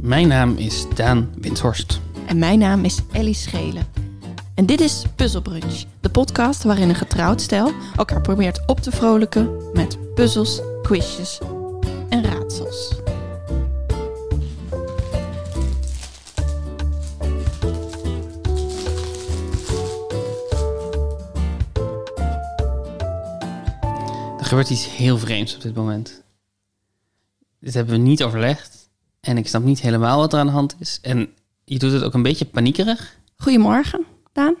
Mijn naam is Daan Windhorst. En mijn naam is Ellie Schelen. En dit is Puzzelbrunch, de podcast waarin een getrouwd stel elkaar probeert op te vrolijken met puzzels, quizjes en raadsels. Er gebeurt iets heel vreemds op dit moment. Dit hebben we niet overlegd. En ik snap niet helemaal wat er aan de hand is. En je doet het ook een beetje paniekerig. Goedemorgen, Daan.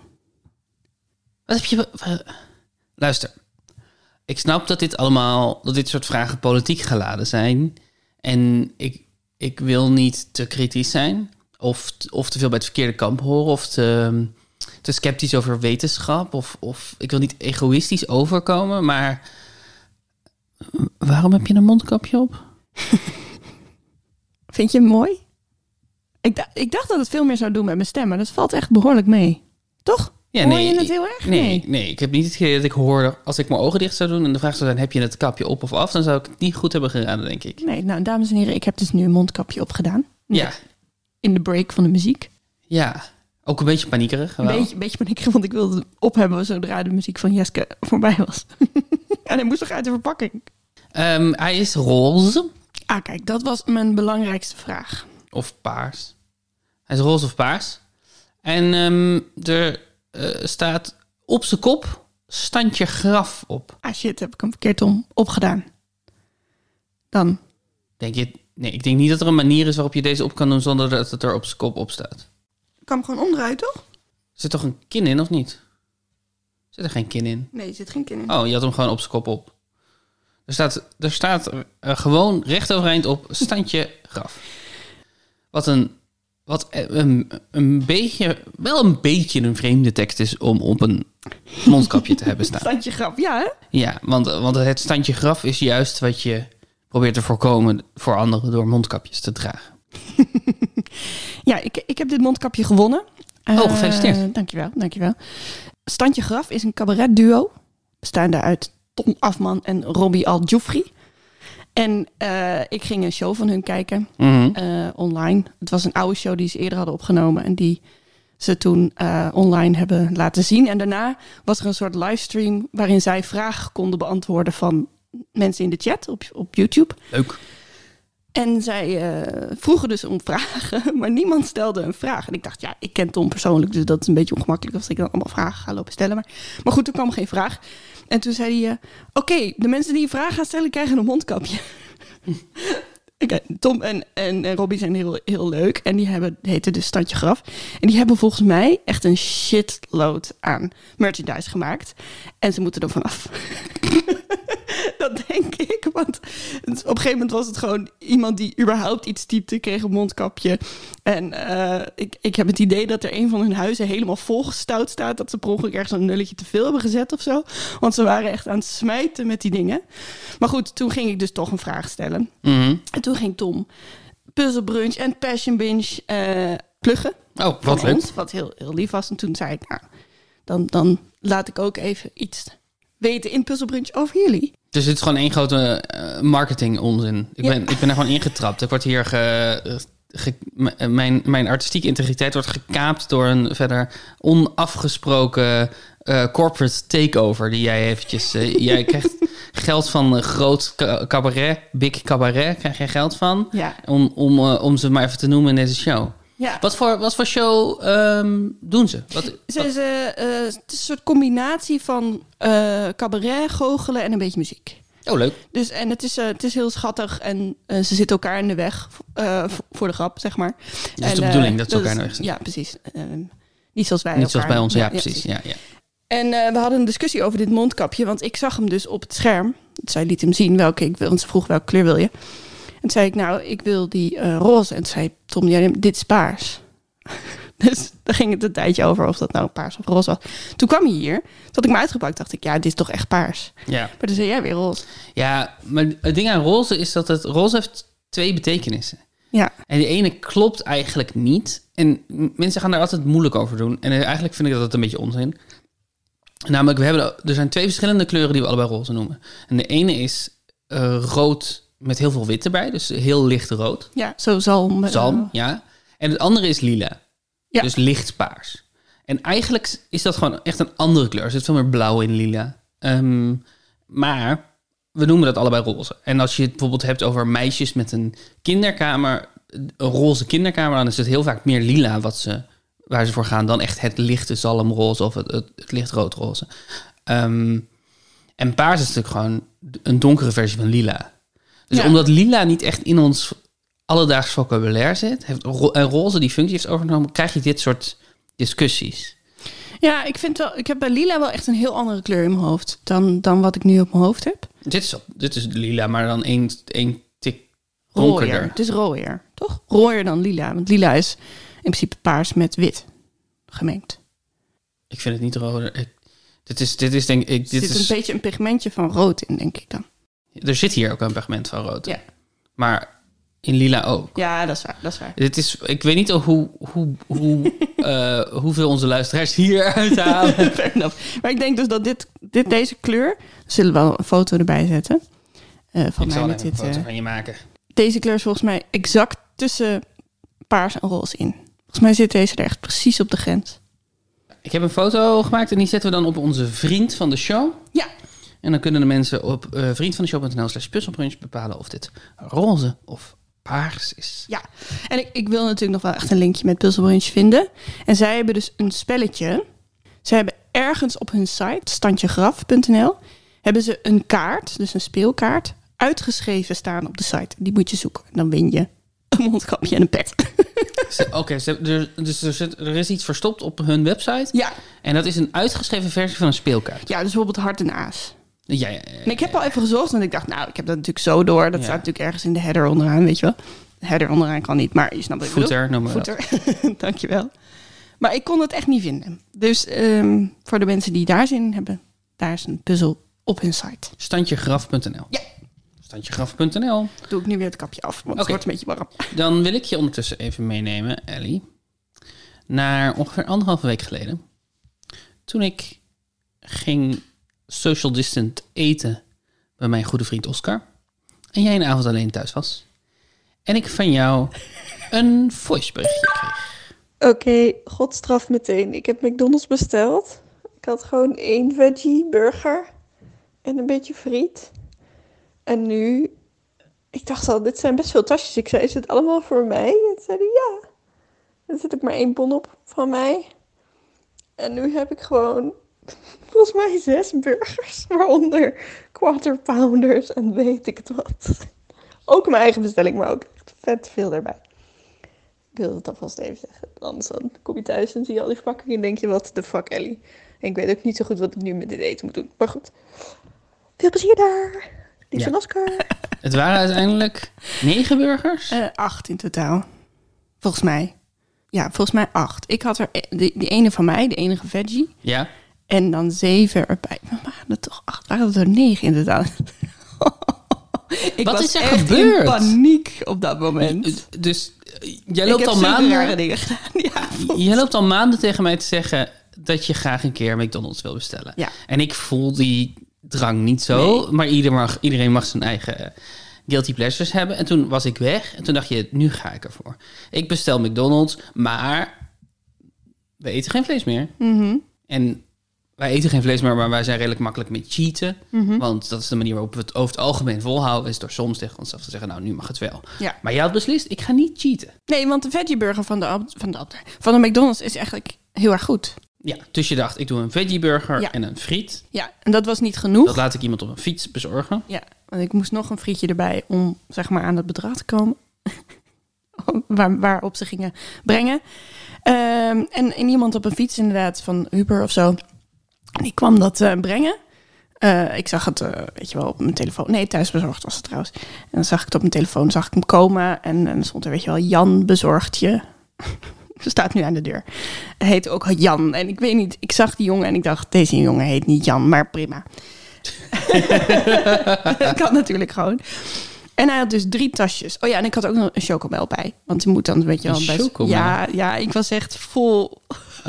Wat heb je... be- wa- Luister. Ik snap dat dit allemaal... Dat dit soort vragen politiek geladen zijn. En ik, ik wil niet te kritisch zijn. Of, t- of te veel bij het verkeerde kamp horen. Of te, te sceptisch over wetenschap. Of, of ik wil niet egoïstisch overkomen. Maar waarom heb je een mondkapje op? Vind je hem mooi? Ik, da- ik dacht dat het veel meer zou doen met mijn stem, maar dat valt echt behoorlijk mee. Toch? Ja, Hoor nee, je het ik- heel erg? Nee, nee. ik heb niet het idee dat ik hoorde... Als ik mijn ogen dicht zou doen en de vraag zou zijn... heb je het kapje op of af? Dan zou ik het niet goed hebben geraden, denk ik. Nee, nou dames en heren, ik heb dus nu een mondkapje opgedaan. Ja, In de break van de muziek. ja. Ook een beetje paniekerig. Een wel. beetje, een beetje paniekerig, want ik wilde het op hebben zodra de muziek van Jeske voorbij was. en hij moest nog uit de verpakking. Ehm, hij is roze Ah, kijk, dat was mijn belangrijkste vraag. of paars. Hij is roze of paars. En ehm, er eh, staat op zijn kop standje graf op. Ah, shit, heb ik hem verkeerd om opgedaan. Dan. Denk je... Nee, ik denk niet dat er een manier is waarop je deze op kan doen... zonder dat het er op zijn kop op staat. Ik kan hem gewoon onderuit, toch? Zit toch een kin in, of niet? Zit er geen kin in? Nee, er zit geen kind in. Oh, je had hem gewoon op zijn kop op. Er staat, er staat eh, gewoon recht overeind op standje graf. Wat een, wat eh, een, een beetje, wel een beetje een vreemde tekst is om op een mondkapje te hebben staan. Standje grap, ja hè? Ja, want, want het standje graf is juist wat je probeert te voorkomen voor anderen door mondkapjes te dragen. Ja, ik, ik heb dit mondkapje gewonnen. Oh, gefeliciteerd. Eh, dankjewel, dankjewel. Standje Graf is een cabaretduo. Bestaande uit Tom Afman en Robbie al -Joufri. En eh, ik ging een show van hun kijken Mhm. eh, online. Het was een oude show die ze eerder hadden opgenomen. En die ze toen eh, online hebben laten zien. En daarna was er een soort livestream waarin zij vragen konden beantwoorden van mensen in de chat op, op YouTube. Leuk. En zij eh, vroegen dus om vragen, maar niemand stelde een vraag. En ik dacht, ja, ik ken Tom persoonlijk, dus dat is een beetje ongemakkelijk als ik dan allemaal vragen ga lopen stellen. Maar, maar goed, er kwam geen vraag. En toen zei hij, eh, oké, de mensen die een vraag gaan stellen krijgen een mondkapje. Oké, Tom en, en, en Robbie zijn heel, heel leuk en die hebben, heten dus Standje Graf. En die hebben volgens mij echt een shitload aan merchandise gemaakt. En ze moeten er vanaf. Dat denk ik, want op een gegeven moment was het gewoon iemand die überhaupt iets typte, kreeg een mondkapje. En eh, ik, ik heb het idee dat er een van hun huizen helemaal volgestouwd staat, dat ze per ongeluk ergens een nulletje te veel hebben gezet of zo. Want ze waren echt aan het smijten met die dingen. Maar goed, toen ging ik dus toch een vraag stellen. Mhm. En toen ging Tom puzzelbrunch en passion binge eh, pluggen Oh, van wat leuk. ons, wat heel, heel lief was. En toen zei ik, nou, dan, dan laat ik ook even iets weten in puzzelbrunch over jullie. Dus dit is gewoon één grote eh, marketing onzin. Ik, Ja. ben, ik ben er gewoon ingetrapt. Ik word hier ge, ge- m- eh, mijn, mijn artistieke integriteit wordt gekaapt door een verder onafgesproken eh, corporate takeover die jij eventjes. eh, jij krijgt geld van een groot ca- cabaret, big cabaret, krijg jij geld van. Ja. Om, om, eh, om ze maar even te noemen in deze show. Ja. Wat voor, wat voor show ehm, doen ze? Wat, Ze, ze, eh, het is een soort combinatie van eh, cabaret, goochelen en een beetje muziek. oh, leuk. Dus, en het is, eh, het is heel schattig en eh, ze zitten elkaar in de weg eh, v- voor de grap, zeg maar. Dus de En, eh, bedoeling dat ze elkaar in de weg is- zitten. Ja, precies. Ehm, niet zoals wij Niet zoals bij elkaar- ons, ja, precies. Ja, ja. En eh, we hadden een discussie over dit mondkapje, want ik zag hem dus op het scherm. Zij liet hem zien welke ik wil, want ze vroeg welke kleur wil je. En toen zei ik, nou, ik wil die eh, roze. En toen zei Tom, ja, dit is paars. dus daar ging het een tijdje over of dat nou paars of roze was. Toen kwam hij hier, toen had ik me uitgepakt, dacht ik, ja, dit is toch echt paars. ja. Maar toen zei jij weer roze. Ja, maar het ding aan roze is dat het roze heeft twee betekenissen. Ja, En die ene klopt eigenlijk niet. En m- mensen gaan daar altijd moeilijk over doen. En eh, eigenlijk vind ik dat een beetje onzin. Namelijk, we hebben, er zijn twee verschillende kleuren die we allebei roze noemen. En de ene is eh, rood met heel veel wit erbij, dus heel licht rood. Ja, zo zalm. eh, Zalm, ja. En het andere is lila, Ja. dus licht paars. En eigenlijk is dat gewoon echt een andere kleur. Er zit veel meer blauw in lila. Ehm, maar we noemen dat allebei roze. En als je het bijvoorbeeld hebt over meisjes met een kinderkamer, een roze kinderkamer, dan is het heel vaak meer lila wat ze, waar ze voor gaan dan echt het lichte zalmroze of het, het, het licht roodroze. Ehm, en paars is natuurlijk gewoon een donkere versie van lila. Dus Ja. omdat lila niet echt in ons alledaags vocabulaire zit, heeft ro- en roze die functie heeft overgenomen, krijg je dit soort discussies. Ja, ik, vind wel, ik heb bij lila wel echt een heel andere kleur in mijn hoofd dan, dan wat ik nu op mijn hoofd heb. Dit is, dit is lila, maar dan één, één tik Rooier. donkerder. Het is rooier, toch? Rooier dan lila, want lila is in principe paars met wit gemengd. Ik vind het niet roder. Ik- dit is, dit is denk ik, Er dit zit is, een beetje een pigmentje van rood in, denk ik dan. er zit hier ook een pigment van rood. in. Ja. Maar in lila ook. Ja, dat is waar, dat is waar. Dit is, ik weet niet hoe, hoe, hoe, eh, hoeveel onze luisteraars hier uithalen. Oh, Fair enough. Maar ik denk dus dat dit, dit deze kleur... Zullen we wel een foto erbij zetten? eh, van ik mij zal met even een dit, foto eh, van je maken. deze kleur is volgens mij exact tussen paars en roze in. Volgens mij zit deze er echt precies op de grens. Ik heb een foto gemaakt en die zetten we dan op onze vriend van de show. Ja. En dan kunnen de mensen op eh vriendvandeshow.nl slash puzzelbrunch bepalen of dit roze of paars is. Ja, en ik, ik wil natuurlijk nog wel echt een linkje met Puzzle Brunch vinden. En zij hebben dus een spelletje. Ze hebben ergens op hun site, standjegraf.nl, hebben ze een kaart, dus een speelkaart, uitgeschreven staan op de site. Die moet je zoeken. En dan win je een mondkapje en een pet. Ze- Oké, ze- er- dus er, zit, er is iets verstopt op hun website. Ja. En dat is een uitgeschreven versie van een speelkaart. Ja, dus bijvoorbeeld hart en aas. Ja, eh, ja, ja. En ik heb al even gezocht, want ik dacht, nou, ik heb dat natuurlijk zo door. Dat Ja. staat natuurlijk ergens in de header onderaan, weet je wel. De header onderaan kan niet, maar je snapt wat ik bedoel. Voeter noemen we dat. Voeter. Dankjewel. Maar ik kon het echt niet vinden. Dus ehm, voor de mensen die daar zin in hebben, daar is een puzzel op hun site. Standjegraf.nl. Ja. Standjegraf.nl. Doe ik nu weer het kapje af, want Oké. het wordt een beetje warm. Dan wil ik je ondertussen even meenemen, Ellie, naar ongeveer anderhalve week geleden. Toen ik ging social distant eten bij mijn goede vriend Oscar. En jij een avond alleen thuis was. En ik van jou een voiceberichtje kreeg. Oké, God straf meteen. Ik heb McDonald's besteld. Ik had gewoon één veggie burger en een beetje friet. En nu, ik dacht al, dit zijn best veel tasjes. Ik zei, is het allemaal voor mij? En zei hij, ja. Er zit ook maar één bon op van mij. En nu heb ik gewoon, volgens mij, zes burgers. Waaronder quarter pounders en weet ik het wat. Ook mijn eigen bestelling, maar ook echt vet veel daarbij. Ik wil het alvast even zeggen. Anders dan kom je thuis en zie je al die verpakking en denk je, wat de fuck Ellie. En ik weet ook niet zo goed wat ik nu met dit eten moet doen. Maar goed. Veel plezier daar. Ik Ja. ben Oscar. Het waren uiteindelijk negen burgers. Eh, acht in totaal. Volgens mij. Ja, volgens mij acht. Ik had er e- die, die ene van mij, de enige veggie. Ja. En dan zeven erbij. Maar waren er toch acht? Waren er negen in totaal? ik Wat was is er echt gebeurd? in paniek op dat moment. Dus eh, jij ik loopt heb al zulke rare maanden. dingen gedaan. Ja, Jij loopt al maanden tegen mij te zeggen dat je graag een keer McDonald's wil bestellen. Ja. En ik voel die drang niet zo, maar ieder mag, iedereen mag zijn eigen eh, guilty pleasures hebben. En toen was ik weg en toen dacht je, nu ga ik ervoor. Ik bestel McDonald's, maar we eten geen vlees meer. Mhm. En wij eten geen vlees meer, maar wij zijn redelijk makkelijk met cheaten. Mhm. Want dat is de manier waarop we het over het algemeen volhouden, is door soms tegen onszelf te zeggen, nou nu mag het wel. Ja. Maar jij had beslist, ik ga niet cheaten. Nee, want de veggieburger van de, Ab- van de, Ab- van de McDonald's is eigenlijk heel erg goed. Ja, dus je dacht, ik doe een veggieburger Ja. en een friet. Ja, en dat was niet genoeg. Dat laat ik iemand op een fiets bezorgen. Ja, want ik moest nog een frietje erbij om zeg maar aan dat bedrag te komen. Waar, waarop ze gingen brengen. Ehm, en, en iemand op een fiets inderdaad van Uber of zo. Die kwam dat eh, brengen. Eh, ik zag het, eh, weet je wel, op mijn telefoon. Nee, thuisbezorgd was het trouwens. En dan zag ik het op mijn telefoon, zag ik hem komen. En, en dan stond er, weet je wel, Jan bezorgt je. Ze staat nu aan de deur. Hij heet ook Jan. En ik weet niet, ik zag die jongen en ik dacht, deze jongen heet niet Jan, maar prima. dat kan natuurlijk gewoon. En hij had dus drie tasjes. Oh ja, en ik had ook nog een chocomel bij. Want je moet dan, weet je wel, Een best... chocomel? Ja, ja, ik was echt vol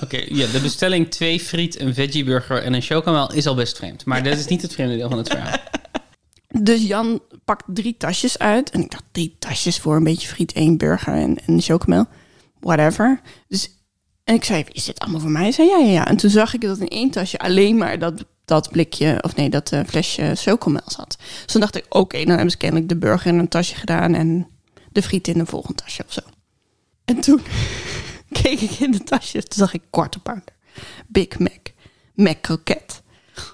Oké, ja, de bestelling twee friet, een veggieburger en een chocomel is al best vreemd. Maar dat is niet het vreemde deel van het verhaal. Dus Jan pakt drie tasjes uit. En ik dacht, drie tasjes voor een beetje friet, één burger en, en chocomel. Whatever. Dus, en ik zei, is dit allemaal voor mij? Hij zei, ja, ja, ja. En toen zag ik dat in één tasje alleen maar dat, dat blikje, of nee, dat eh, flesje chocomel zat. Dus toen dacht ik, oké, dan hebben ze kennelijk de burger in een tasje gedaan en de friet in een volgend tasje of zo. En toen keek ik in de tasjes, toen zag ik Quarter Pounder, Big Mac, Mac Croquette.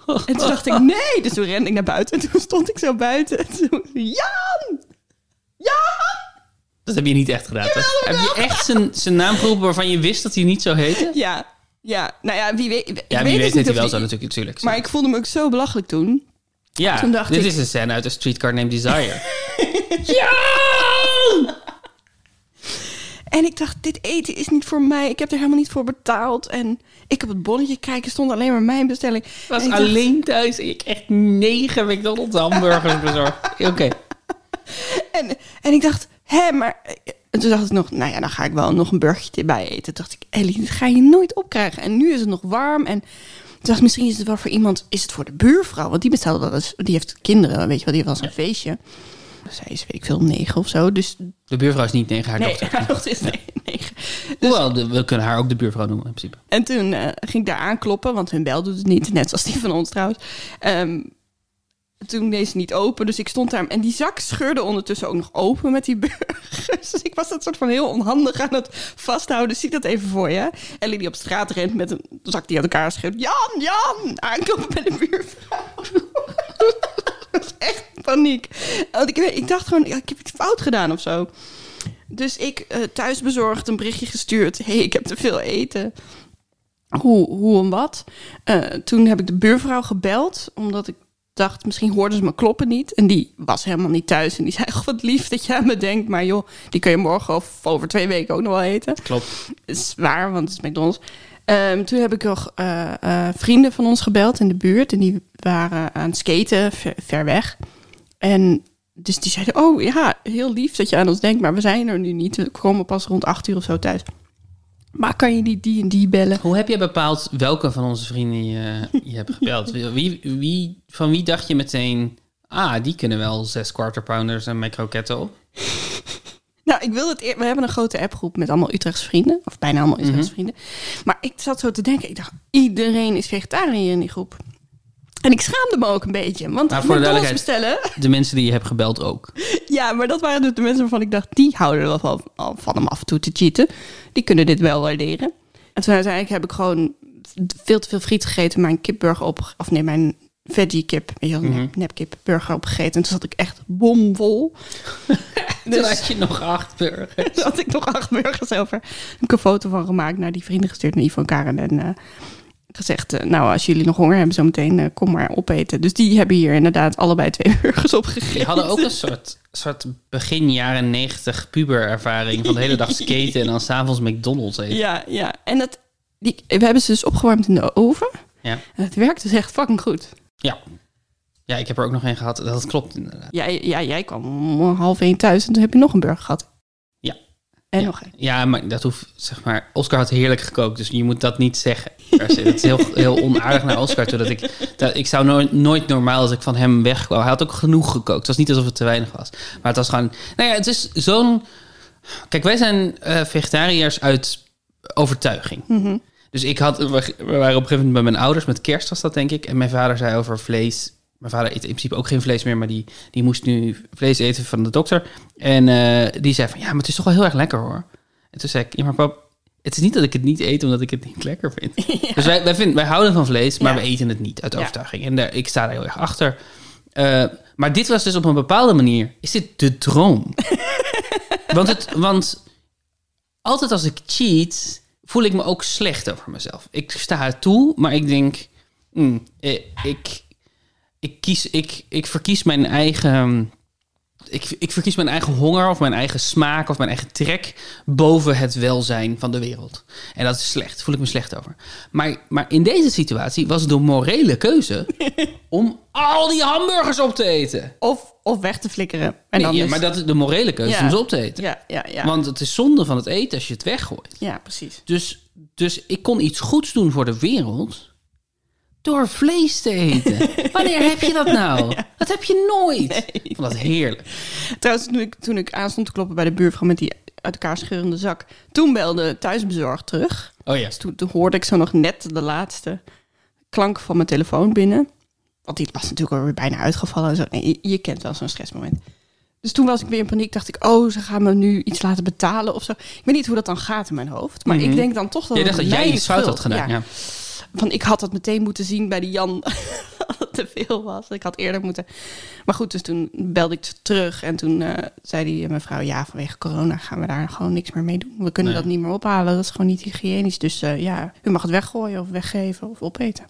En toen dacht ik, nee. Dus toen rende ik naar buiten. En toen stond ik zo buiten. En toen, Jan! Jan! Dat heb je niet echt gedaan, toch? Heb je echt zijn, zijn naam geroepen waarvan je wist dat hij niet zo heette? Ja, ja. Nou ja, wie weet. Ik Ja, weet wie dus weet heet niet hij of wel die- zo natuurlijk. natuurlijk. Maar ik voelde me ook zo belachelijk toen. ja, toen dacht dit ik- is een scène uit de Streetcar Named Desire. En ik dacht, dit eten is niet voor mij. Ik heb er helemaal niet voor betaald. En ik op het bonnetje kijken stond alleen maar mijn bestelling. En was ik dacht, alleen thuis en ik echt negen McDonald's hamburgers bezorgd. Oké. En, en ik dacht, hè, maar... eh, En toen dacht ik nog, nou ja, dan ga ik wel nog een burgertje erbij eten. Toen dacht ik, Ellie, dat ga je nooit opkrijgen. En nu is het nog warm. En toen dacht ik, misschien is het wel voor iemand... Is het voor de buurvrouw? Want die bestelde wel eens... Die heeft kinderen, weet je wel. Die heeft wel eens een feestje. Zij is, weet ik veel, negen of zo. Dus De buurvrouw is niet negen, haar nee, dochter. haar dochter is ne- negen. Dus, Hoewel, de- we kunnen haar ook de buurvrouw noemen in principe. en toen eh, ging ik daar aankloppen, want hun bel doet het niet. Net zoals die van ons trouwens. Ehm, toen deed ze niet open, dus ik stond daar. En die zak scheurde ondertussen ook nog open met die burgers. Dus ik was dat soort van heel onhandig aan het vasthouden. Zie dat even voor je. Ellie die op straat rent met een zak die aan elkaar scheurt. Jan, Jan! Aankloppen bij de buurvrouw. Dat was echt paniek. Want ik, weet- ik dacht gewoon, ja, ik heb iets fout gedaan of zo. Dus ik eh, thuis bezorgd een berichtje gestuurd. hey, ik heb te veel eten. Hoe, hoe en wat? Eh, toen heb ik de buurvrouw gebeld, omdat ik dacht, misschien hoorden ze me kloppen niet. En die was helemaal niet thuis. En die zei, "Goh, wat lief dat je aan me denkt. Maar joh, die kun je morgen of over twee weken ook nog wel eten. Klopt. Is waar, want het is McDonald's. Ehm, toen heb ik nog eh, eh, vrienden van ons gebeld in de buurt. En die waren aan het skaten, ver, ver weg. En dus die zeiden, oh ja, heel lief dat je aan ons denkt. Maar we zijn er nu niet. We komen pas rond acht uur of zo thuis. Maar kan je niet die en die bellen? Hoe heb jij bepaald welke van onze vrienden je, je hebt gebeld? Wie, wie, van wie dacht je meteen, ah, die kunnen wel zes quarter pounders en microketten op? Nou, ik wilde het eer- We hebben een grote appgroep met allemaal Utrechtse vrienden. Of bijna allemaal Mhm. Utrechtse vrienden. Maar ik zat zo te denken. Ik dacht, iedereen is vegetariër in die groep. En ik schaamde me ook een beetje. Want Nou, voor de McDonald's duidelijkheid. bestellen... De mensen die je hebt gebeld ook. Ja, maar dat waren dus de mensen waarvan ik dacht... die houden er wel van, van om af en toe te cheaten. Die kunnen dit wel waarderen. En toen uiteindelijk heb ik gewoon veel te veel friet gegeten... mijn kipburger op... of nee, mijn veggie kip, weet je wel, nep, nepkipburger opgegeten. En toen zat ik echt bomvol. Dus- Toen had je nog acht burgers. Toen had ik nog acht burgers over. Heb ik een foto van gemaakt naar die vrienden gestuurd, naar Ivan Karen. En eh, gezegd, eh, nou, als jullie nog honger hebben zometeen, eh, kom maar opeten. Dus die hebben hier inderdaad allebei twee burgers opgegeten. Die hadden ook een soort, soort begin jaren negentig puberervaring van de hele dag skaten en dan s'avonds McDonald's eten. Ja, ja. En dat, die, we hebben ze dus opgewarmd in de oven. Ja. En het werkt dus echt fucking goed. ja. Ja, ik heb er ook nog één gehad. Dat klopt inderdaad. Jij, ja, jij kwam om half één thuis en toen heb je nog een burger gehad. Ja. En ja. nog één. Ja, maar dat hoeft, zeg maar... Oscar had heerlijk gekookt, dus je moet dat niet zeggen. per se. Dat is heel, heel onaardig naar Oscar toe. Dat ik, dat, ik zou nooit, nooit normaal als ik van hem wegkwam. Hij had ook genoeg gekookt. Het was niet alsof het te weinig was. Maar het was gewoon... Nou ja, het is zo'n... Kijk, wij zijn eh, vegetariërs uit overtuiging. Mhm. Dus ik had... We, we waren op een gegeven moment bij mijn ouders. Met kerst was dat, denk ik. En mijn vader zei over vlees... Mijn vader eet in principe ook geen vlees meer, maar die, die moest nu vlees eten van de dokter. En eh, die zei van, ja, maar het is toch wel heel erg lekker hoor. En toen zei ik, ja, maar pap, het is niet dat ik het niet eet omdat ik het niet lekker vind. Dus wij, wij, vinden, wij houden van vlees, maar Ja. we eten het niet uit Ja. overtuiging. En daar, ik sta daar heel erg achter. Eh, maar dit was dus op een bepaalde manier, is dit de droom? want, het, want altijd als ik cheat, voel ik me ook slecht over mezelf. Ik sta er toe, maar ik denk, mm, eh, ik, ik, kies, ik, ik verkies mijn eigen hmm, ik, ik verkies mijn eigen honger of mijn eigen smaak of mijn eigen trek boven het welzijn van de wereld. En dat is slecht, voel ik me slecht over. Maar, maar in deze situatie was het een morele keuze om al die hamburgers op te eten. Of, of weg te flikkeren. En Nee, dan ja, dus- maar dat is de morele keuze Ja. om ze op te eten. ja, ja, ja. Want het is zonde van het eten als je het weggooit. ja, precies. Dus, dus ik kon iets goeds doen voor de wereld Door vlees te eten. Wanneer heb je dat nou? Dat heb je nooit. Ik vond dat heerlijk. Trouwens, toen ik, toen ik aan stond te kloppen bij de buurvrouw met die uit elkaar scheurende zak, toen belde thuisbezorgd terug. Oh ja. Dus toen, toen hoorde ik zo nog net de laatste klank van mijn telefoon binnen. Want die was natuurlijk alweer bijna uitgevallen. En zo. Nee, je, je kent wel zo'n stressmoment. Dus toen was ik weer in paniek. Dacht ik, oh, ze gaan me nu iets laten betalen of zo. Ik weet niet hoe dat dan gaat in mijn hoofd. Maar Mhm. ik denk dan toch dat Je dacht het dat jij mijn iets fout schuld- had gedaan. Ja. van ik had dat meteen moeten zien bij die Jan dat het te veel was. Ik had eerder moeten. Maar goed, dus toen belde ik ze terug en toen eh, zei die mevrouw ja, vanwege corona gaan we daar gewoon niks meer mee doen. We kunnen Nee. dat niet meer ophalen. Dat is gewoon niet hygiënisch. Dus eh, ja, u mag het weggooien of weggeven of opeten.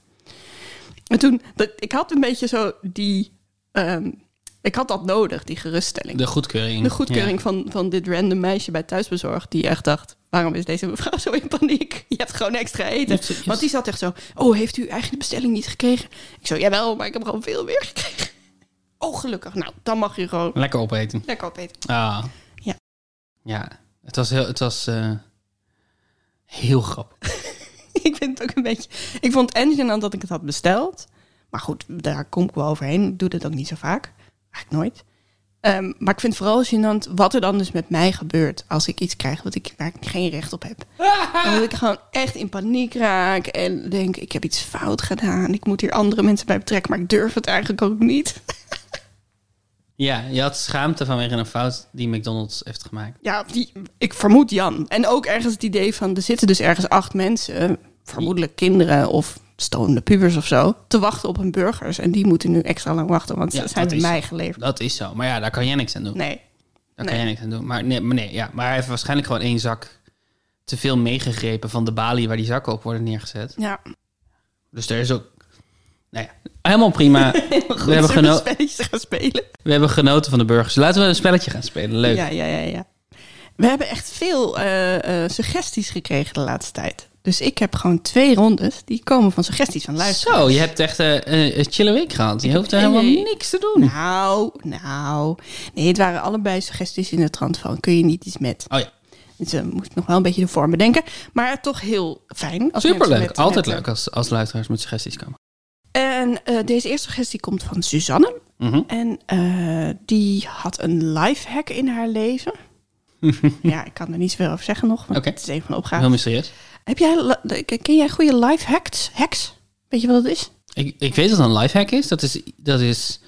En toen dat, ik had een beetje zo die ehm, ik had dat nodig, die geruststelling. De goedkeuring. De goedkeuring van, van dit random meisje bij thuisbezorgd. Die echt dacht, waarom is deze mevrouw zo in paniek? Je hebt gewoon extra eten. Yes, yes. Want die zat echt zo, oh, heeft u eigenlijk de bestelling niet gekregen? Ik zo, jawel, maar ik heb gewoon veel meer gekregen. Oh, gelukkig. Nou, dan mag je gewoon Ja. Lekker opeten. lekker opeten. Ah. Ja. Ja, het was heel, het was, eh, heel grappig. ik vind het ook een beetje... Ik vond het en gênant dat ik het had besteld. Maar goed, daar kom ik wel overheen. Ik doe dit ook niet zo vaak. Eigenlijk nooit. Ehm, maar ik vind het vooral gênant wat er dan dus met mij gebeurt... als ik iets krijg wat ik, waar ik geen recht op heb. En dat ik gewoon echt in paniek raak en denk, ik heb iets fout gedaan. Ik moet hier andere mensen bij betrekken, maar ik durf het eigenlijk ook niet. Ja, je had schaamte vanwege een fout die McDonald's heeft gemaakt. Ja, die, ik vermoed Jan. En ook ergens het idee van, er zitten dus ergens acht mensen, vermoedelijk kinderen of stonende pubers of zo, te wachten op hun burgers. En die moeten nu extra lang wachten, want Ja, ze zijn dat bij is mij geleverd. Dat is zo. Maar ja, daar kan jij niks aan doen. Nee. daar nee. kan jij niks aan doen. Maar nee, maar nee, ja. Maar hij heeft waarschijnlijk gewoon één zak te veel meegegrepen van de balie waar die zakken op worden neergezet. Ja, Dus er is ook... Nou ja, helemaal prima. goed, we, hebben zullen geno- we spelletjes gaan spelen. we hebben genoten van de burgers. Laten we een spelletje gaan spelen. Leuk. Ja, ja, ja, ja. We hebben echt veel eh, eh, suggesties gekregen de laatste tijd. Dus ik heb gewoon twee rondes die komen van suggesties van luisteren. Zo, je hebt echt eh, een, een chille week gehad. Je hoeft er helemaal Nee. niks te doen. Nou, nou. Nee, het waren allebei suggesties in de trant van kun je niet iets met. Oh ja, Dus we moesten nog wel een beetje de vorm bedenken. Maar toch heel fijn. Als mensen superleuk. met- Altijd met- leuk als, als luisteraars met suggesties komen. En eh, deze eerste suggestie komt van Suzanne. Mhm. En eh, die had een lifehack in haar leven. ja, ik kan er niet zoveel over zeggen nog, want Hm. Oké. het is even een opgave. Heel mysterieus. Heb jij, li- ken jij goede life hacks? hacks? Weet je wat dat is? Ik, ik weet dat een lifehack is. Dat, is. dat is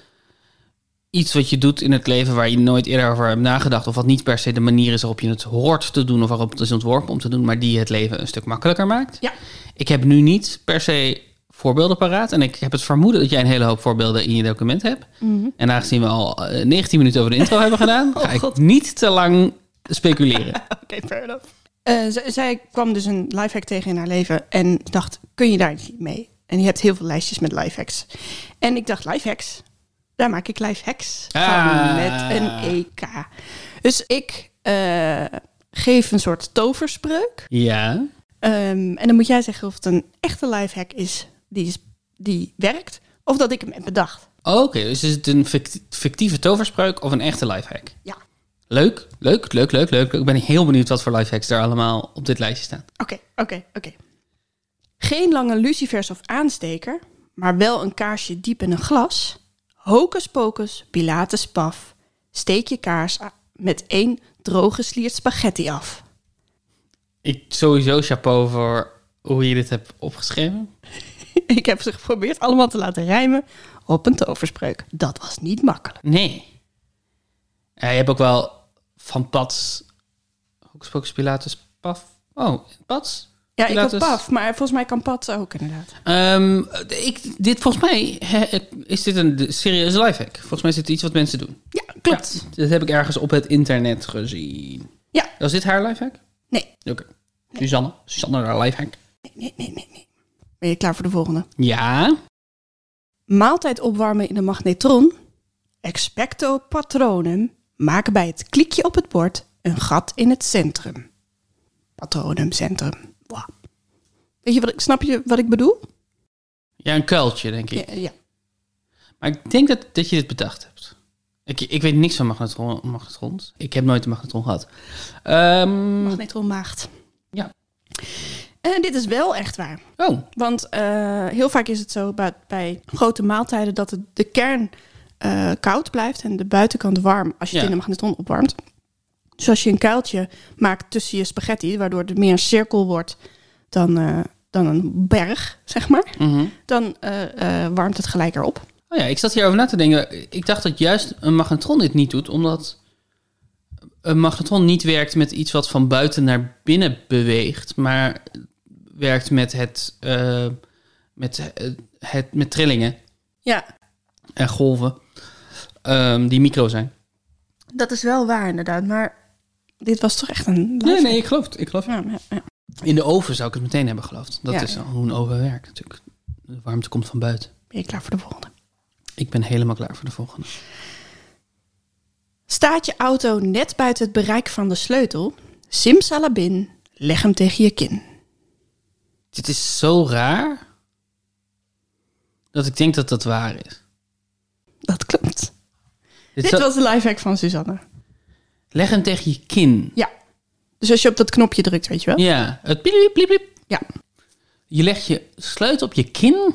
iets wat je doet in het leven waar je nooit eerder over hebt nagedacht. Of wat niet per se de manier is waarop je het hoort te doen. Of waarop het is ontworpen om te doen. Maar die het leven een stuk makkelijker maakt. Ja. Ik heb nu niet per se voorbeelden paraat. En ik heb het vermoeden dat jij een hele hoop voorbeelden in je document hebt. En aangezien we al eh, 19 minuten over de intro hebben gedaan, ga ik niet te lang speculeren. Oké, fair enough. Eh, z- zij kwam dus een lifehack tegen in haar leven en dacht, kun je daar iets mee? En je hebt heel veel lijstjes met lifehacks. En ik dacht, lifehacks? Daar maak ik lifehacks van Ah. met een EK. Dus ik eh, geef een soort toverspreuk. ja. Ehm, en dan moet jij zeggen of het een echte lifehack is die, is, die werkt, of dat ik hem heb bedacht. Oké, dus is het een fict- fictieve toverspreuk of een echte lifehack? Ja. Leuk, leuk, leuk, leuk, leuk. Ik ben heel benieuwd wat voor lifehacks er allemaal op dit lijstje staan. Oké, oké, oké. Geen lange lucifers of aansteker, maar wel een kaarsje diep in een glas. Hocus pocus, pilates paf. Steek je kaars a- met één droge sliert spaghetti af. Ik sowieso chapeau voor hoe je dit hebt opgeschreven. Ik heb ze geprobeerd allemaal te laten rijmen op een toverspreuk. Dat was niet makkelijk. Nee. Eh, je hebt ook wel van Pats... Hocus Pocus Pilatus Paf. Oh, Pats? Ja, ik had Pilatus. paf, maar volgens mij kan pat ook inderdaad. Ehm, ik, dit volgens mij hè, is dit een serieuze lifehack. Volgens mij is dit iets wat mensen doen. Ja, klopt. Ja, dit heb ik ergens op het internet gezien. Ja. Was dit haar lifehack? Nee, Oké. Suzanne. Suzanne haar lifehack. nee, nee, nee, nee, nee. Ben je klaar voor de volgende? Ja. Maaltijd opwarmen in de magnetron. Expecto patronum. Maak bij het klikje op het bord een gat in het centrum. Patronum, centrum. Wow. Weet je wat ik, snap je wat ik bedoel? Ja, een kuiltje, denk ik. Ja, ja. Maar ik denk dat, dat je dit bedacht hebt. Ik, ik weet niks van magnetron, magnetrons. Ik heb nooit een magnetron gehad. Ehm, Magnetron maagd. Ja. En dit is wel echt waar. Oh, Want eh, heel vaak is het zo bij, bij grote maaltijden dat het, de kern eh, koud blijft en de buitenkant warm als je Ja. het in de magnetron opwarmt. Dus als je een kuiltje maakt tussen je spaghetti, waardoor het meer een cirkel wordt dan, eh, dan een berg, zeg maar, mhm. dan eh, eh, warmt het gelijk erop. oh ja, ik zat hierover na te denken. Ik dacht dat juist een magnetron dit niet doet, omdat een magnetron niet werkt met iets wat van buiten naar binnen beweegt, maar werkt met het, eh, met, het, het- met trillingen Ja, en golven ehm, die micro zijn. dat is wel waar inderdaad, maar dit was toch echt een... Nee, live- nee, ik geloof het. Ik geloof het. Ja, ja, ja. In de oven zou ik het meteen hebben geloofd. Dat Ja. is hoe een oven werkt natuurlijk. De warmte komt van buiten. Ben je klaar voor de volgende? Ik ben helemaal klaar voor de volgende. Staat je auto net buiten het bereik van de sleutel? Simsalabin, leg hem tegen je kin. Dit is zo raar. Dat ik denk dat dat waar is. Dat klopt. Dit Dit zou- was de lifehack van Suzanne. Leg hem tegen je kin. Ja. Dus als je op dat knopje drukt, weet je wel? Ja, het piep, piep, piep. Ja. Je legt je sleutel op je kin.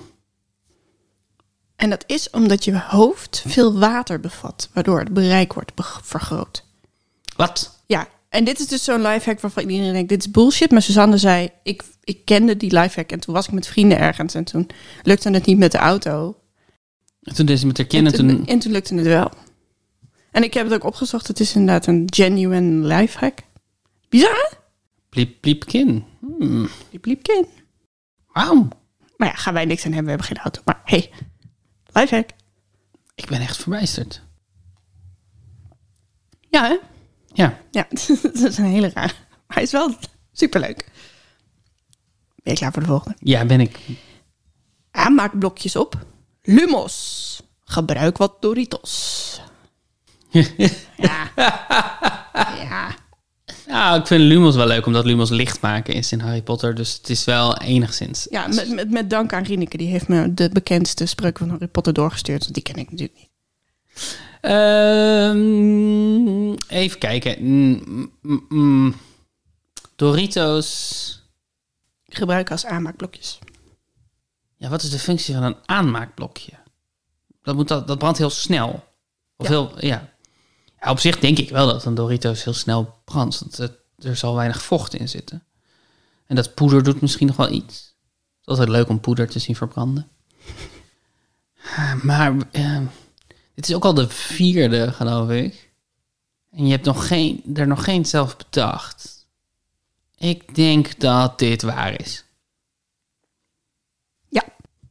En dat is omdat je hoofd veel water bevat, waardoor het bereik wordt be- vergroot. Wat? Ja. En dit is dus zo'n lifehack waarvan iedereen denkt, dit is bullshit. Maar Suzanne zei, ik, ik kende die lifehack en toen was ik met vrienden ergens en toen lukte het niet met de auto. En toen deed ze met haar kin en En, toen... toen lukte het wel. En ik heb het ook opgezocht, het is inderdaad een genuine lifehack. Bizar, hè? Pliep, pliep, kin. Hmm. Liep, liep, kind. Wauw. Maar ja, gaan wij niks aan hebben, we hebben geen auto. Maar hey, lifehack. Ik ben echt verbijsterd. Ja, hè? Ja. Ja, dat is een hele raar. Maar hij is wel superleuk. Ben je klaar voor de volgende? Ja, ben ik. Aanmaakblokjes op. Lumos. Gebruik wat Doritos. ja. ja. Nou, ik vind Lumos wel leuk, omdat Lumos licht maken is in Harry Potter. Dus het is wel enigszins. Ja, met, met, met dank aan Rieneke. Die heeft me de bekendste spreuk van Harry Potter doorgestuurd. Want die ken ik natuurlijk niet. Ehm, even kijken. Mm, mm, mm. Doritos. Gebruik als aanmaakblokjes. Ja, wat is de functie van een aanmaakblokje? Dat, moet dat, dat brandt heel snel. Of heel, ja. ja. Op zich denk ik wel dat een Doritos heel snel brandt. Want het- er zal weinig vocht in zitten. En dat poeder doet misschien nog wel iets. Het is altijd leuk om poeder te zien verbranden. Ah, Maar eh, dit is ook al de vierde, geloof ik. En je hebt nog geen, er nog geen zelf bedacht. Ik denk dat dit waar is. Ja.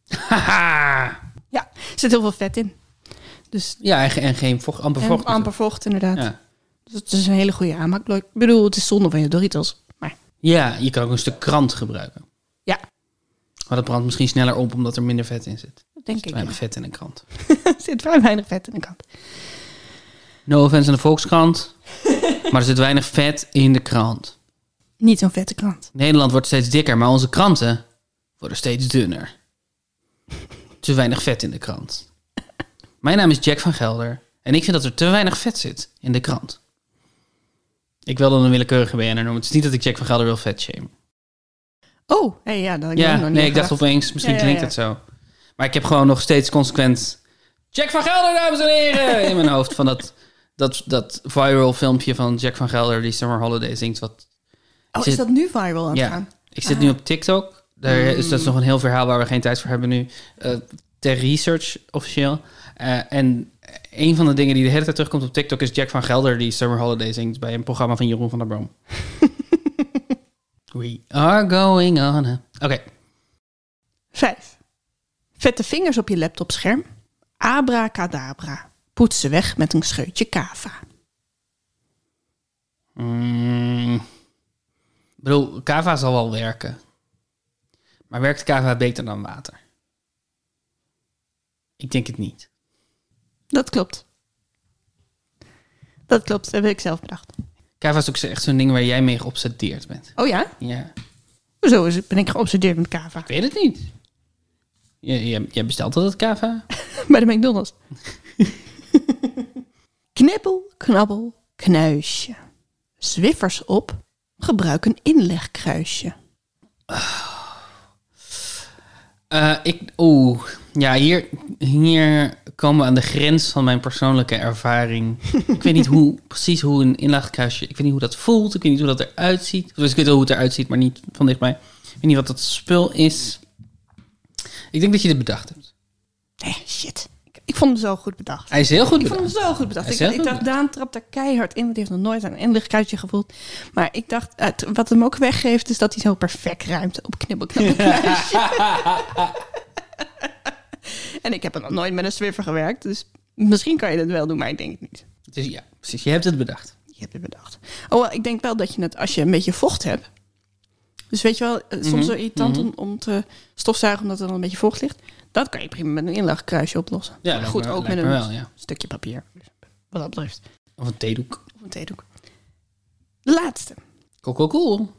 Haha! Ja. Er zit heel veel vet in. Dus Ja, en, ge- en geen vocht, amper vocht. en amper vocht inderdaad. Ja. Dus het is een hele goede aanmaakblok. Ik bedoel, het is zonde van je Doritos. Maar ja, je kan ook een stuk krant gebruiken. ja, Maar dat brandt misschien sneller op omdat er minder vet in zit. dat denk ik. Weinig vet in een krant. Er zit vrij weinig vet in de kant. No offense aan de Volkskrant. maar er zit weinig vet in de krant. Niet zo'n vette krant. Nederland wordt steeds dikker, maar onze kranten worden steeds dunner. Te weinig vet in de krant. Mijn naam is Jack van Gelder en ik vind dat er te weinig vet zit in de krant. Ik wil dan een willekeurige BN'er noemen. Het is niet dat ik Jack van Gelder wil vet shamen. Oh, hey, ja, dat had ik ja, nog niet nee, ik dacht gedacht. opeens, misschien Ja, ja, klinkt ja. het zo. Maar ik heb gewoon nog steeds consequent... Jack van Gelder, dames en heren! in mijn hoofd van dat, dat, dat viral filmpje van Jack van Gelder... die Summer Holiday zingt, wat Oh, is dat nu viral aan het ja, gaan? Ah. Mm. ik zit nu op TikTok. Daar is dat is nog een heel verhaal waar we geen tijd voor hebben nu. Eh, ter research officieel. Eh, en een van de dingen die de hele tijd terugkomt op TikTok is Jack van Gelder die Summer Holiday zingt bij een programma van Jeroen van der Boom. We are going on. a- Oké, Vijf. Vette vingers op je laptopscherm. Abracadabra. Poets ze weg met een scheutje kava. Mm. Ik bedoel, kava zal wel werken. Maar werkt kava beter dan water? Ik denk het niet. Dat klopt. Dat klopt, dat heb ik zelf bedacht. Kava is ook echt zo'n ding waar jij mee geobsedeerd bent. Oh ja? Ja. Zo is het, ben ik geobsedeerd met kava. Ik weet het niet. J- j- Jij bestelt altijd kava? Bij de McDonald's. Knippel, knabbel, knuisje. Zwiffers op, gebruik een inlegkruisje. Eh, ik, oeh, ja, hier, hier komen we aan de grens van mijn persoonlijke ervaring. ik weet niet hoe, precies hoe een inlaagkruisje, ik weet niet hoe dat voelt, ik weet niet hoe dat eruit ziet. Dus ik weet wel hoe het eruit ziet, maar niet van dichtbij. Ik weet niet wat dat spul is. Ik denk dat je dit bedacht hebt. Nee, shit. Ik, ik vond hem zo goed bedacht. Hij is heel goed Ik vond bedacht. hem zo goed bedacht. Hij Ik, is heel ik goed dacht, Daan trapt daar keihard in, want die heeft nog nooit aan een inlichtkuitje gevoeld. Maar ik dacht, eh, t- wat hem ook weggeeft, is dat hij zo perfect ruimt op knibbel, knabbel, knuisje. En ik heb er nog nooit met een Swiffer gewerkt, dus misschien kan je dat wel doen, maar ik denk het niet. Dus ja, precies. Je hebt het bedacht. Je hebt het bedacht. Oh, wel, ik denk wel dat je het, als je een beetje vocht hebt, dus weet je wel, eh, soms Mhm, zo irritant om, om te stofzuigen omdat er dan een beetje vocht ligt, dat kan je prima met een inlegkruisje oplossen. Ja, maar lijkt goed, me- ook met lijkt een me wel, ja. stukje papier, Dus wat dat betreft. Of een theedoek. Of een theedoek. De laatste. Cool, cool, cool.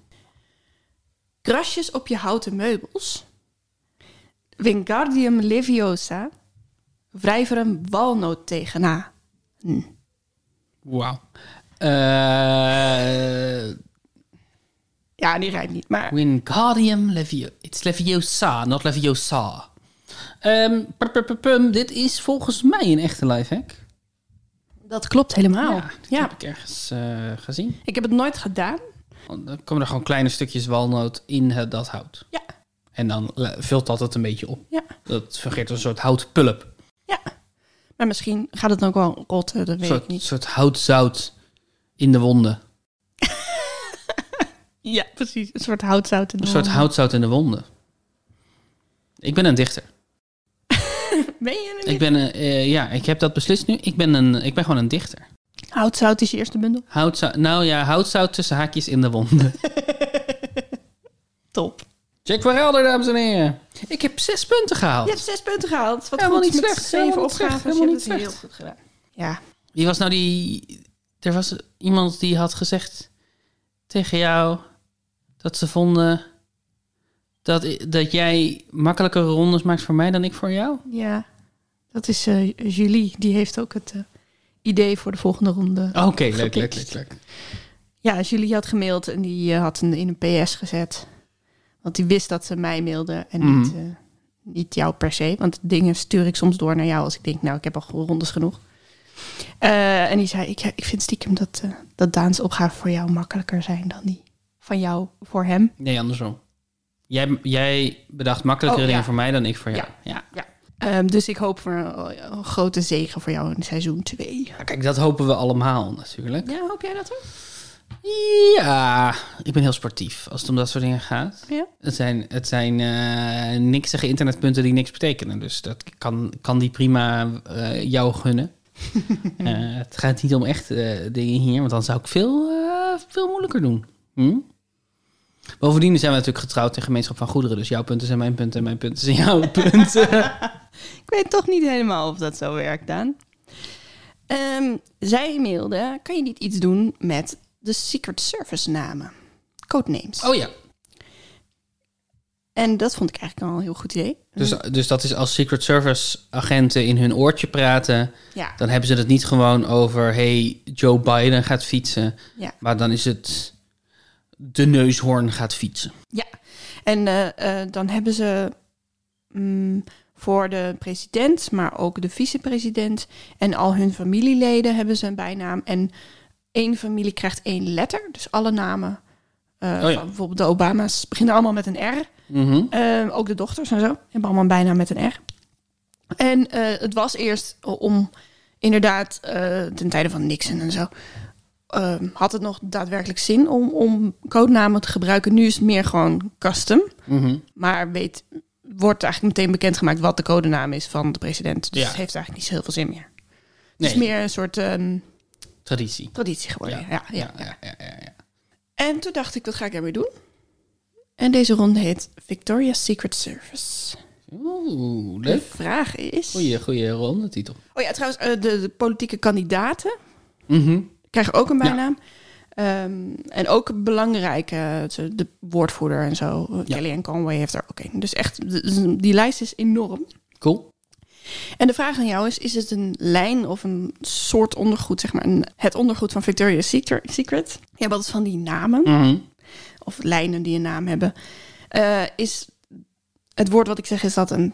Krasjes op je houten meubels. Wingardium leviosa. Wrijf er een walnoot tegenaan. Wauw. Eh Ja, die rijdt niet, maar... Wingardium Leviosa. It's Leviosa, not Leviosa. Ehm, pum, pum, pum, pum. dit is volgens mij een echte lifehack. Oh, Dat klopt helemaal. Ja, dit heb ik ergens eh, gezien. ik heb het nooit gedaan. Want Dan komen er gewoon kleine stukjes walnoot in eh, dat hout. Ja, En dan eh, vult dat het een beetje op. ja, Dat vergeet een soort houtpulp. ja. Maar misschien gaat het dan ook wel rotten, dat Een weet ik soort, niet. soort houtzout in de wonden. Ja, precies. Een soort houtzout in de Een soort wand. houtzout in de wonden. Ik ben een dichter. Ben je er niet? Ik ben, eh, eh, ja, ik heb dat beslist nu. Ik ben, een, ik ben gewoon een dichter. Houtzout is je eerste bundel. Houtzout, nou ja, houtzout tussen haakjes in de wonden. Top. Jack van Gelder, dames en heren. Ik heb zes punten Je gehaald. hebt zes punten gehaald. Wat Helemaal goed, niet met slecht, zeven helemaal niet opgaves. slecht, Je hebt helemaal het niet heel slecht. goed gedaan. Ja, Wie was nou die... Er was iemand die had gezegd tegen jou dat ze vonden dat, dat jij makkelijkere rondes maakt voor mij dan ik voor jou. Ja, dat is eh, Julie. Die heeft ook het eh, idee voor de volgende ronde. Oké, leuk, Gepikt. leuk, leuk, leuk. Ja, Julie had gemaild en die eh, had een, in een PS gezet. Want die wist dat ze mij mailde en Mhm. niet, eh, niet jou per se. Want dingen stuur ik soms door naar jou als ik denk, nou, ik heb al rondes genoeg. Eh, en die zei, ik, ik vind stiekem dat, eh, dat Daans opgave voor jou makkelijker zijn dan die van jou voor hem. Nee, andersom. Jij, jij bedacht makkelijkere Oh, ja. dingen voor mij dan ik voor jou. Ja. Ehm, dus ik hoop voor een, een grote zegen voor jou in seizoen 2. Nou, Kijk, dat hopen we allemaal natuurlijk. Ja, hoop jij dat ook? Ja, ik ben heel sportief als het om dat soort dingen gaat. Ja. Het zijn, het zijn eh, niksige internetpunten die niks betekenen. Dus dat kan, kan die prima eh, jou gunnen. Eh, het gaat niet om echt eh, dingen hier, want dan zou ik veel, eh, veel moeilijker doen. Hm? Bovendien zijn we natuurlijk getrouwd in gemeenschap van goederen. Dus jouw punten zijn mijn punten en mijn punten zijn jouw punten. Ik weet toch niet helemaal of dat zo werkt, Daan. Ehm, zij mailde, kan je niet iets doen met de Secret Service namen? Codenames. Oh ja, En dat vond ik eigenlijk al een heel goed idee. dus, dus dat is als Secret Service agenten in hun oortje praten. Ja, Dan hebben ze het niet gewoon over, hey, Joe Biden gaat fietsen. ja, Maar dan is het de neushoorn gaat fietsen. ja. En eh, eh, dan hebben ze mm, voor de president, maar ook de vicepresident en al hun familieleden hebben ze een bijnaam. En één familie krijgt één letter. Dus alle namen, eh, Oh ja. Mhm. van bijvoorbeeld de Obama's, beginnen allemaal met een R. Eh, ook de dochters en zo. Hebben allemaal bijna met een R. En eh, het was eerst om inderdaad, eh, ten tijde van Nixon en zo, ehm, had het nog daadwerkelijk zin om, om codenamen te gebruiken. Nu is het meer gewoon custom. Mhm. Maar weet, wordt eigenlijk meteen bekendgemaakt wat de codenaam is van de president. Dus Ja. het heeft eigenlijk niet zo heel veel zin meer. Het Nee, is meer een soort ehm, traditie. traditie geworden. Ja. ja, ja. ja, ja, ja, ja. En toen dacht ik, wat ga ik ermee doen? En deze ronde heet Victoria's Secret Service. Oeh, De leuk. vraag is... Goeie, goeie rondetitel. Oh ja, trouwens, eh, de, de politieke kandidaten Mhm. krijgen ook een bijnaam. Ehm, en ook belangrijke, eh, zo de woordvoerder en zo. eh, Ja. Kellyanne Conway heeft er ook een. Dus echt, de- die lijst is enorm. Cool. En de vraag aan jou is, is het een lijn of een soort ondergoed, zeg maar, een, het ondergoed van Victoria's Secret? Je hebt altijd van die namen, Mhm. of lijnen die een naam hebben. Eh, is het woord wat ik zeg, is dat een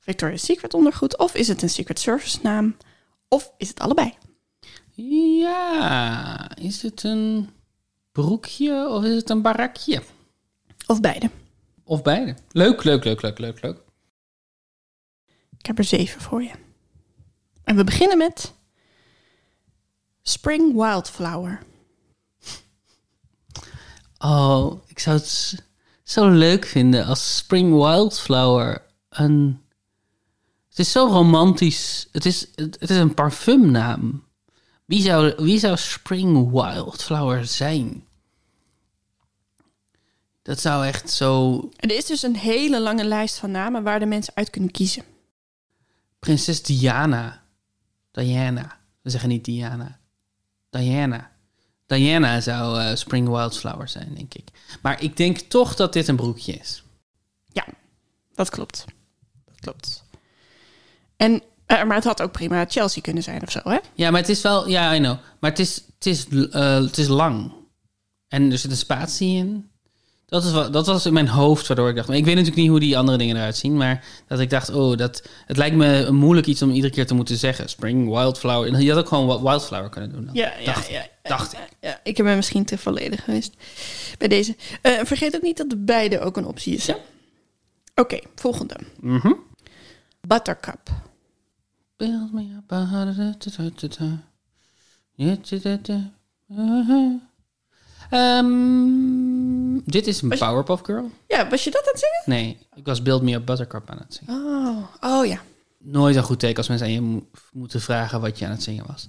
Victoria's Secret ondergoed? Of is het een Secret Service naam? Of is het allebei? Ja, is het een broekje of is het een barakje? Of beide? Of beide. Leuk, leuk, leuk, leuk, leuk, leuk. Ik heb er zeven voor je. En we beginnen met Spring Wildflower. Oh, ik zou het s- zo leuk vinden als Spring Wildflower een... Het is zo romantisch. Het is, het, het is een parfumnaam. Wie zou, wie zou Spring Wildflower zijn? Dat zou echt zo Er is dus een hele lange lijst van namen waar de mensen uit kunnen kiezen. Prinses Diana. Diana. We zeggen niet Diana. Diana. Diana zou eh, Spring Wildflower zijn, denk ik. Maar ik denk toch dat dit een broekje is. Ja, dat klopt. Dat klopt. En, eh, maar het had ook prima Chelsea kunnen zijn of zo, hè? Ja, maar het is wel... Ja, I know. Maar het is, het is, eh, het is lang. En er zit een spatie in. Dat, is wat, dat was in mijn hoofd waardoor ik dacht... maar Ik weet natuurlijk niet hoe die andere dingen eruit zien. Maar dat ik dacht, oh, dat, het lijkt me moeilijk iets om iedere keer te moeten zeggen. Spring Wildflower. En Je had ook gewoon wa- Wildflower kunnen doen. dan. dacht, dacht ik. Ja, ik ben misschien te volledig geweest bij deze. Eh, vergeet ook niet dat de beide ook een optie is. hè? Oké, volgende. Mhm. Buttercup. Build me up. ah-da-da-da-da-da-da. Ja-da-da-da. Ah-ha. Eh, Ehm, dit is een Was je- Powerpuff Girl? Ja, was je dat aan het zingen? Nee, ik was Build Me Up Buttercup aan het zingen. Oh, oh ja. Nooit een goed teken als mensen aan je mo- moeten vragen wat je aan het zingen was.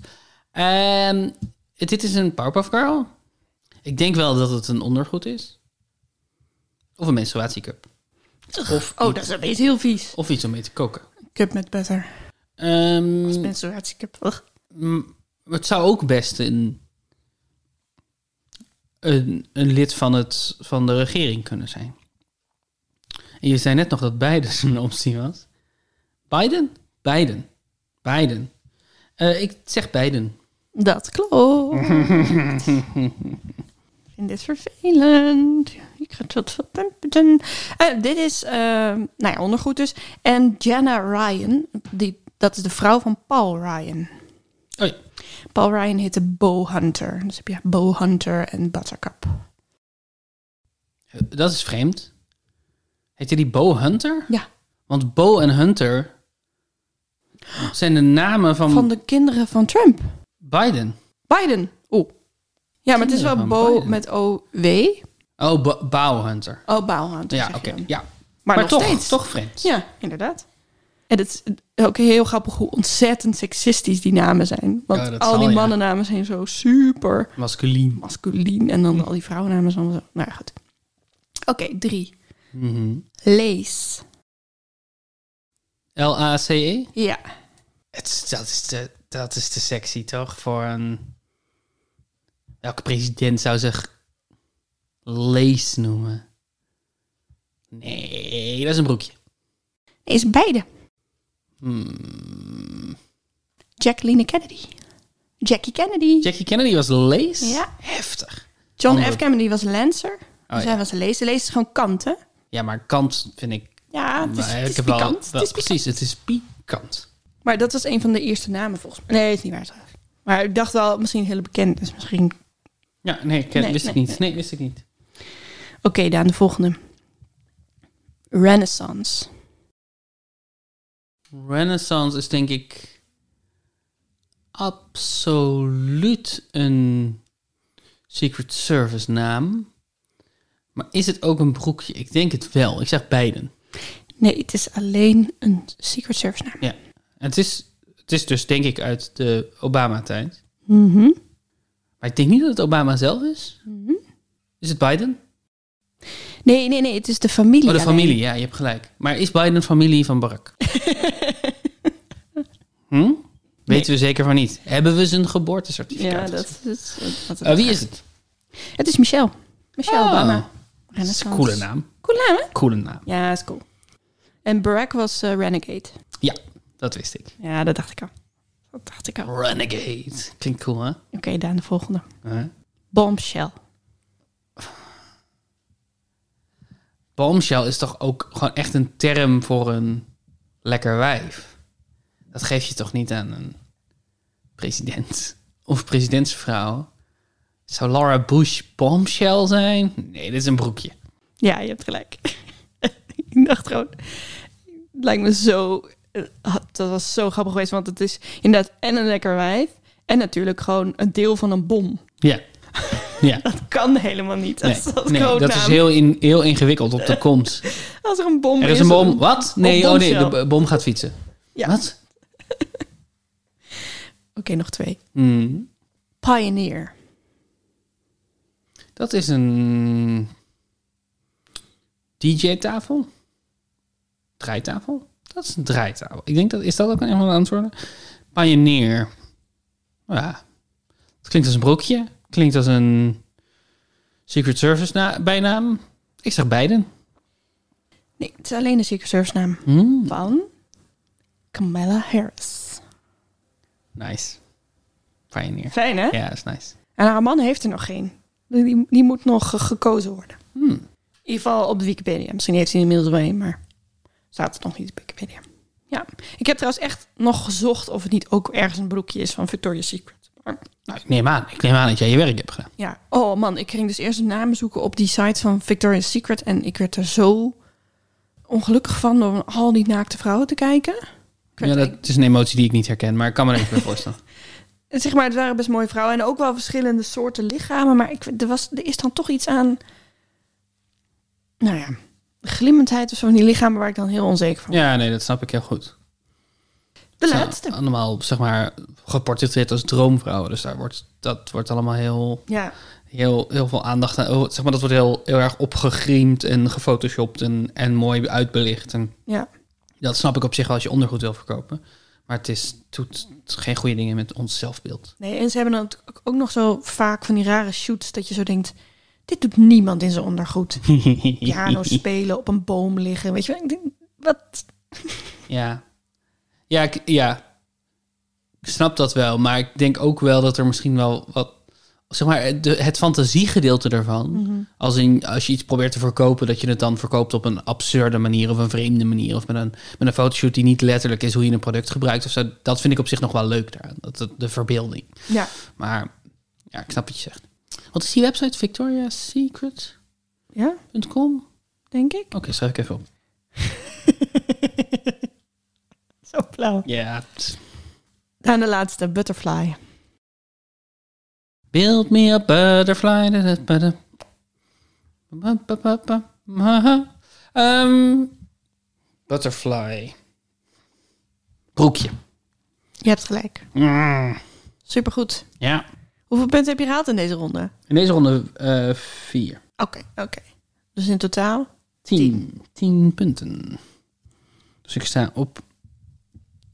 Ehm, dit is een Powerpuff Girl? Ik denk wel dat het een ondergoed is. Of een menstruatiecup. Of, oh, iets, dat is opeens heel vies. Mm. of iets om mee te koken. Cup met butter. Ehm, Als menstruatiecup. Ugh. Mm, het zou ook best een, een, een lid van, het, van de regering kunnen zijn. En je zei net nog dat Biden een optie was. Biden? Biden. Biden. Eh, ik zeg Biden. Dat klopt. ik vind dit vervelend. Ik ga tot wat temperen. Eh, dit is, ehm nou ja, ondergoed dus. En Jenna Ryan, die, dat is de vrouw van Paul Ryan. Oh ja. Paul Ryan heette Bo Hunter. Dus heb je Bo Hunter en Buttercup. Dat is vreemd. Heette die Bo Hunter? Ja. Want Bo en Hunter zijn de namen van, Van de kinderen van Trump. Biden. Biden. Oeh. Ja, maar het is wel Kinderen Bo van Biden. met O-W. Oh, Bo- Bouw Hunter. Oh, Baal Hunter. Ja, zeg oké. je dan. Ja. Maar, Maar nog toch, steeds. toch vreemd. Ja, inderdaad. En het is ook heel grappig hoe ontzettend seksistisch die namen zijn. Want Ja, dat al zal, die ja. mannennamen zijn zo super Masculien. masculien. En dan al die vrouwennamen zijn allemaal zo. Nou ja, goed. Oké, drie. Mhm. Lees. L-A-C-E? Ja. Het, dat, is te, dat is te sexy, toch? Voor een... Welke president zou zich lees noemen? Nee, dat is een broekje. Is beide. Hmm. Jacqueline Kennedy. Jackie Kennedy. Jackie Kennedy was lees? Ja. Heftig. John Andere- F. Kennedy was Lancer. Oh, zij ja. was Lees. Lees is gewoon kant, hè? Ja, maar kant vind ik... Ja, Ah, het is, maar het ik is heb wel- pikant. wel- het is pikant. precies, het is pikant. Maar dat was een van de eerste namen volgens mij. Nee, het is niet waar trouwens. Maar ik dacht wel, misschien heel bekend. Dus misschien... Ja, nee, ik ken- Nee, wist ik nee, niet. Nee. wist ik niet. Oké, Daan, de volgende. Renaissance. Renaissance is denk ik absoluut een Secret Service naam. Maar is het ook een broekje? Ik denk het wel. Ik zeg beiden. Nee, het is alleen een Secret Service naam. Ja. Het is, het is dus denk ik uit de Obama-tijd. Mhm. Maar ik denk niet dat het Obama zelf is. Mhm. Is het Biden? Nee, nee, nee, het is de familie. Oh, de alleen. familie. Ja, je hebt gelijk. Maar is Biden familie van Barack? Hm? Weten we zeker van niet. Hebben we zijn geboortecertificaat? Ja, dat is... Dat, Eh, wie is het? Het is Michelle. Michelle Oh. Obama. Dat is Renaissance. een coole naam. Coole naam, hè? Coole naam. Ja, is cool. En Barack was eh, Renegade. Ja, dat wist ik. Ja, dat dacht ik al. Dat dacht ik al. Oké, Renegade. Klinkt cool, hè? Daan, de volgende. Huh? Bombshell. bombshell is toch ook gewoon echt een term voor een lekker wijf? Dat geef je toch niet aan een president of presidentsvrouw? Zou Laura Bush bombshell zijn? Nee, dit is een broekje. Ja, je hebt gelijk. ik dacht gewoon, het lijkt me zo, dat was zo grappig geweest, want het is inderdaad en een lekker wijf en natuurlijk gewoon een deel van een bom. Ja. Ja. Dat kan helemaal niet. Dat, is- Nee, dat, is nee, codenaam. dat is heel, in, heel ingewikkeld op de komst. Als er een bom Er is een dan- bom. Wat? Nee, oh nee, de bombshell. b- bom gaat fietsen. Ja. Wat? Oké, nog twee. Hmm. Pioneer. Dat is een DJ-tafel? Draaitafel? Dat is een draaitafel. Ik denk dat is dat ook een van de antwoorden. Pioneer. Ja. Het klinkt als een broekje. Klinkt als een Secret Service na- bijnaam. Ik zeg beiden. Nee, het is alleen een Secret Service naam. Hmm. Van Kamala Harris. Nice. Pioneer. Fijn, hè? Ja, dat is nice. En haar man heeft er nog geen. Die, die moet nog ge- gekozen worden. Hmm. In ieder geval op de Wikipedia. Misschien heeft hij inmiddels wel een, maar staat het nog niet op Wikipedia. Ja, ik heb trouwens echt nog gezocht of het niet ook ergens een broekje is van Victoria's Secret. Maar Nou, ik neem aan. Ik neem aan dat jij je werk hebt gedaan. ja, oh man, ik ging dus eerst een naam zoeken op die site van Victoria's Secret en ik werd er zo ongelukkig van door naar al die naakte vrouwen te kijken. Ik werd Ja, dat het is een emotie die ik niet herken, maar ik kan me er even bij voorstellen. zeg maar, het waren best mooie vrouwen en ook wel verschillende soorten lichamen. Maar ik, er, was, er is dan toch iets aan, nou ja, glimmendheid of zo van die lichamen waar ik dan heel onzeker van Ja, nee, dat snap ik heel goed. Ze De zijn laatste. Allemaal, zeg maar, geportretteerd als droomvrouwen. Dus daar wordt, dat wordt allemaal heel, Ja, heel, heel veel aandacht aan. oh, Zeg maar, dat wordt heel, heel erg opgegriemd en gefotoshopt en, en mooi uitbelicht. En ja. dat snap ik op zich wel als je ondergoed wil verkopen. Maar het is, doet geen goede dingen met ons zelfbeeld. Nee, en ze hebben dan ook- ook nog zo vaak van die rare shoots dat je zo denkt, dit doet niemand in zijn ondergoed. Piano spelen, op een boom liggen, weet je wel. Ik denk, Wat? Ja. Ja, ik, ja. Ik snap dat wel, maar ik denk ook wel dat er misschien wel wat... Zeg maar, de, het fantasiegedeelte ervan. Als, in, als je iets probeert te verkopen, dat je het dan verkoopt op een absurde manier... of een vreemde manier, of met een, met een fotoshoot die niet letterlijk is... hoe je een product gebruikt of zo. Dat vind ik op zich nog wel leuk daaraan. Dat, dat- de verbeelding. Ja, Maar ja, ik snap wat je zegt. Wat is die website? victoriasecret.com? ja, denk ik. Oké, schrijf ik even op. Zo blauw. Ja, het- Dan de laatste, Butterfly. Build me a butterfly. da- da- ba- da- ba- ba- ba- ba- ma- ha. Ehm, butterfly. Broekje. Je hebt gelijk. Mm, Supergoed. Ja. Hoeveel punten heb je gehaald in deze ronde? In deze ronde eh vier. Oké, oké. Dus in totaal? Tien. Tien punten. Dus ik sta op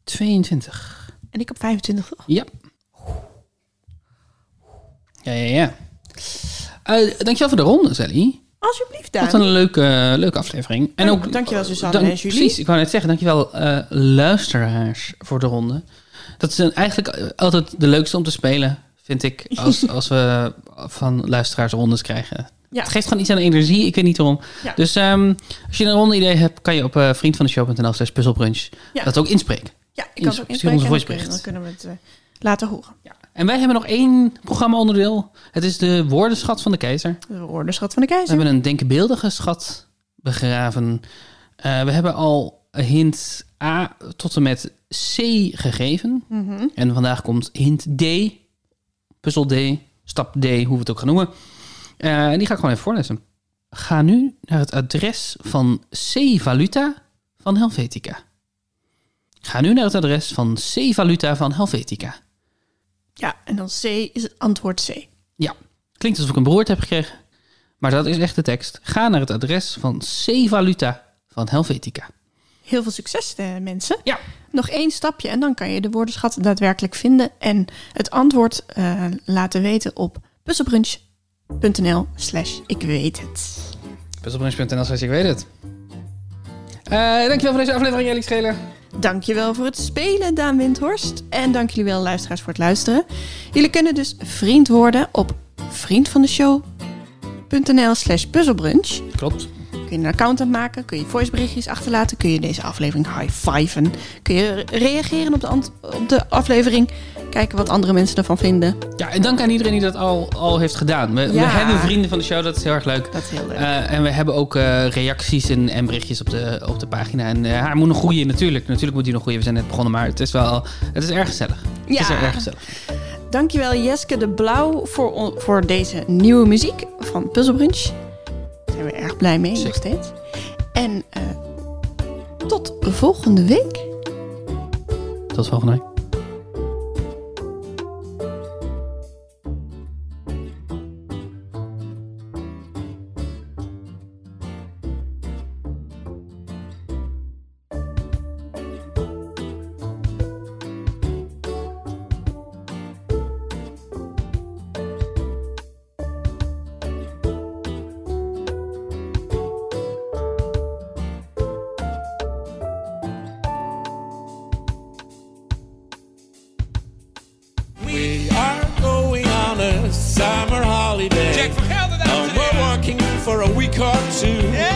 22. En ik heb 25. toch? Ja. Ja, ja, ja. Eh dankjewel voor de ronde, Sally. Alsjeblieft, Wat Daan. een leuke, leuke aflevering. En Dank- ook, dankjewel, Suzanne en Julie. Precies, ik wou net zeggen, dankjewel eh luisteraars voor de ronde. Dat is een- eigenlijk eh, altijd de leukste om te spelen, vind ik, als, als we van luisteraars rondes krijgen. Ja. Het geeft gewoon iets aan energie, ik weet niet waarom. Ja. Dus ehm, als je een ronde idee hebt, kan je op eh vriendvandeshow.nl slash puzzelbrunch Ja. dat ook inspreken. Ja, ik kan het ook Stuur ons een inspreken. en dan voicebericht. kunnen- Dan kunnen we het eh, laten horen. En wij hebben nog één programma-onderdeel. Het is de woordenschat van de keizer. De orderschat van de We keizer. hebben een denkbeeldige schat begraven. Eh, we hebben al hint A tot en met C gegeven. Mhm. En vandaag komt hint D, puzzel D, stap D, hoe we het ook gaan noemen. Eh, en die ga ik gewoon even voorlezen. Ga nu naar het adres van C Valuta van Helvetica. Ga nu naar het adres van C Valuta van Helvetica. Ja, en dan C is het antwoord C. Ja, klinkt alsof ik een beroerte heb gekregen. Maar dat is echt de tekst. Ga naar het adres van C Valuta van Helvetica. Heel veel succes, eh, mensen. Ja. Nog één stapje en dan kan je de woordenschat daadwerkelijk vinden. En het antwoord eh, laten weten op puzzelbrunch.nl slash ik weet het. Puzzelbrunch.nl, zoals ik weet het. Eh, dankjewel voor deze aflevering, Ellie Scheler. Dankjewel voor het spelen, Daan Windhorst. En dank jullie wel, luisteraars, voor het luisteren. Jullie kunnen dus vriend worden op vriendvandeshow.nl slash puzzelbrunch. Klopt. Kun je een account aanmaken, kun je voiceberichtjes achterlaten, kun je deze aflevering high-fiven, kun je reageren op de, ant- op de aflevering, kijken wat andere mensen ervan vinden. Ja, en dank aan iedereen die dat al, al heeft gedaan. We, we Ja. hebben vrienden van de show, dat is heel erg leuk. Dat is heel leuk. Eh, en we hebben ook eh, reacties en, en berichtjes op de, op de pagina. En eh, hij moet nog groeien, natuurlijk. Natuurlijk moet hij nog groeien. We zijn net begonnen, maar het is wel... Het is erg gezellig. Het is Ja. erg gezellig. Dankjewel Jeske de Blauw voor, on- voor deze nieuwe muziek van Puzzle Brunch. Daar zijn we erg blij mee, nog Zeker. steeds. En eh, tot volgende week. Tot volgende week. We are going on a summer holiday. Jack van Gelder, dames en And we're heren. working for a week or two.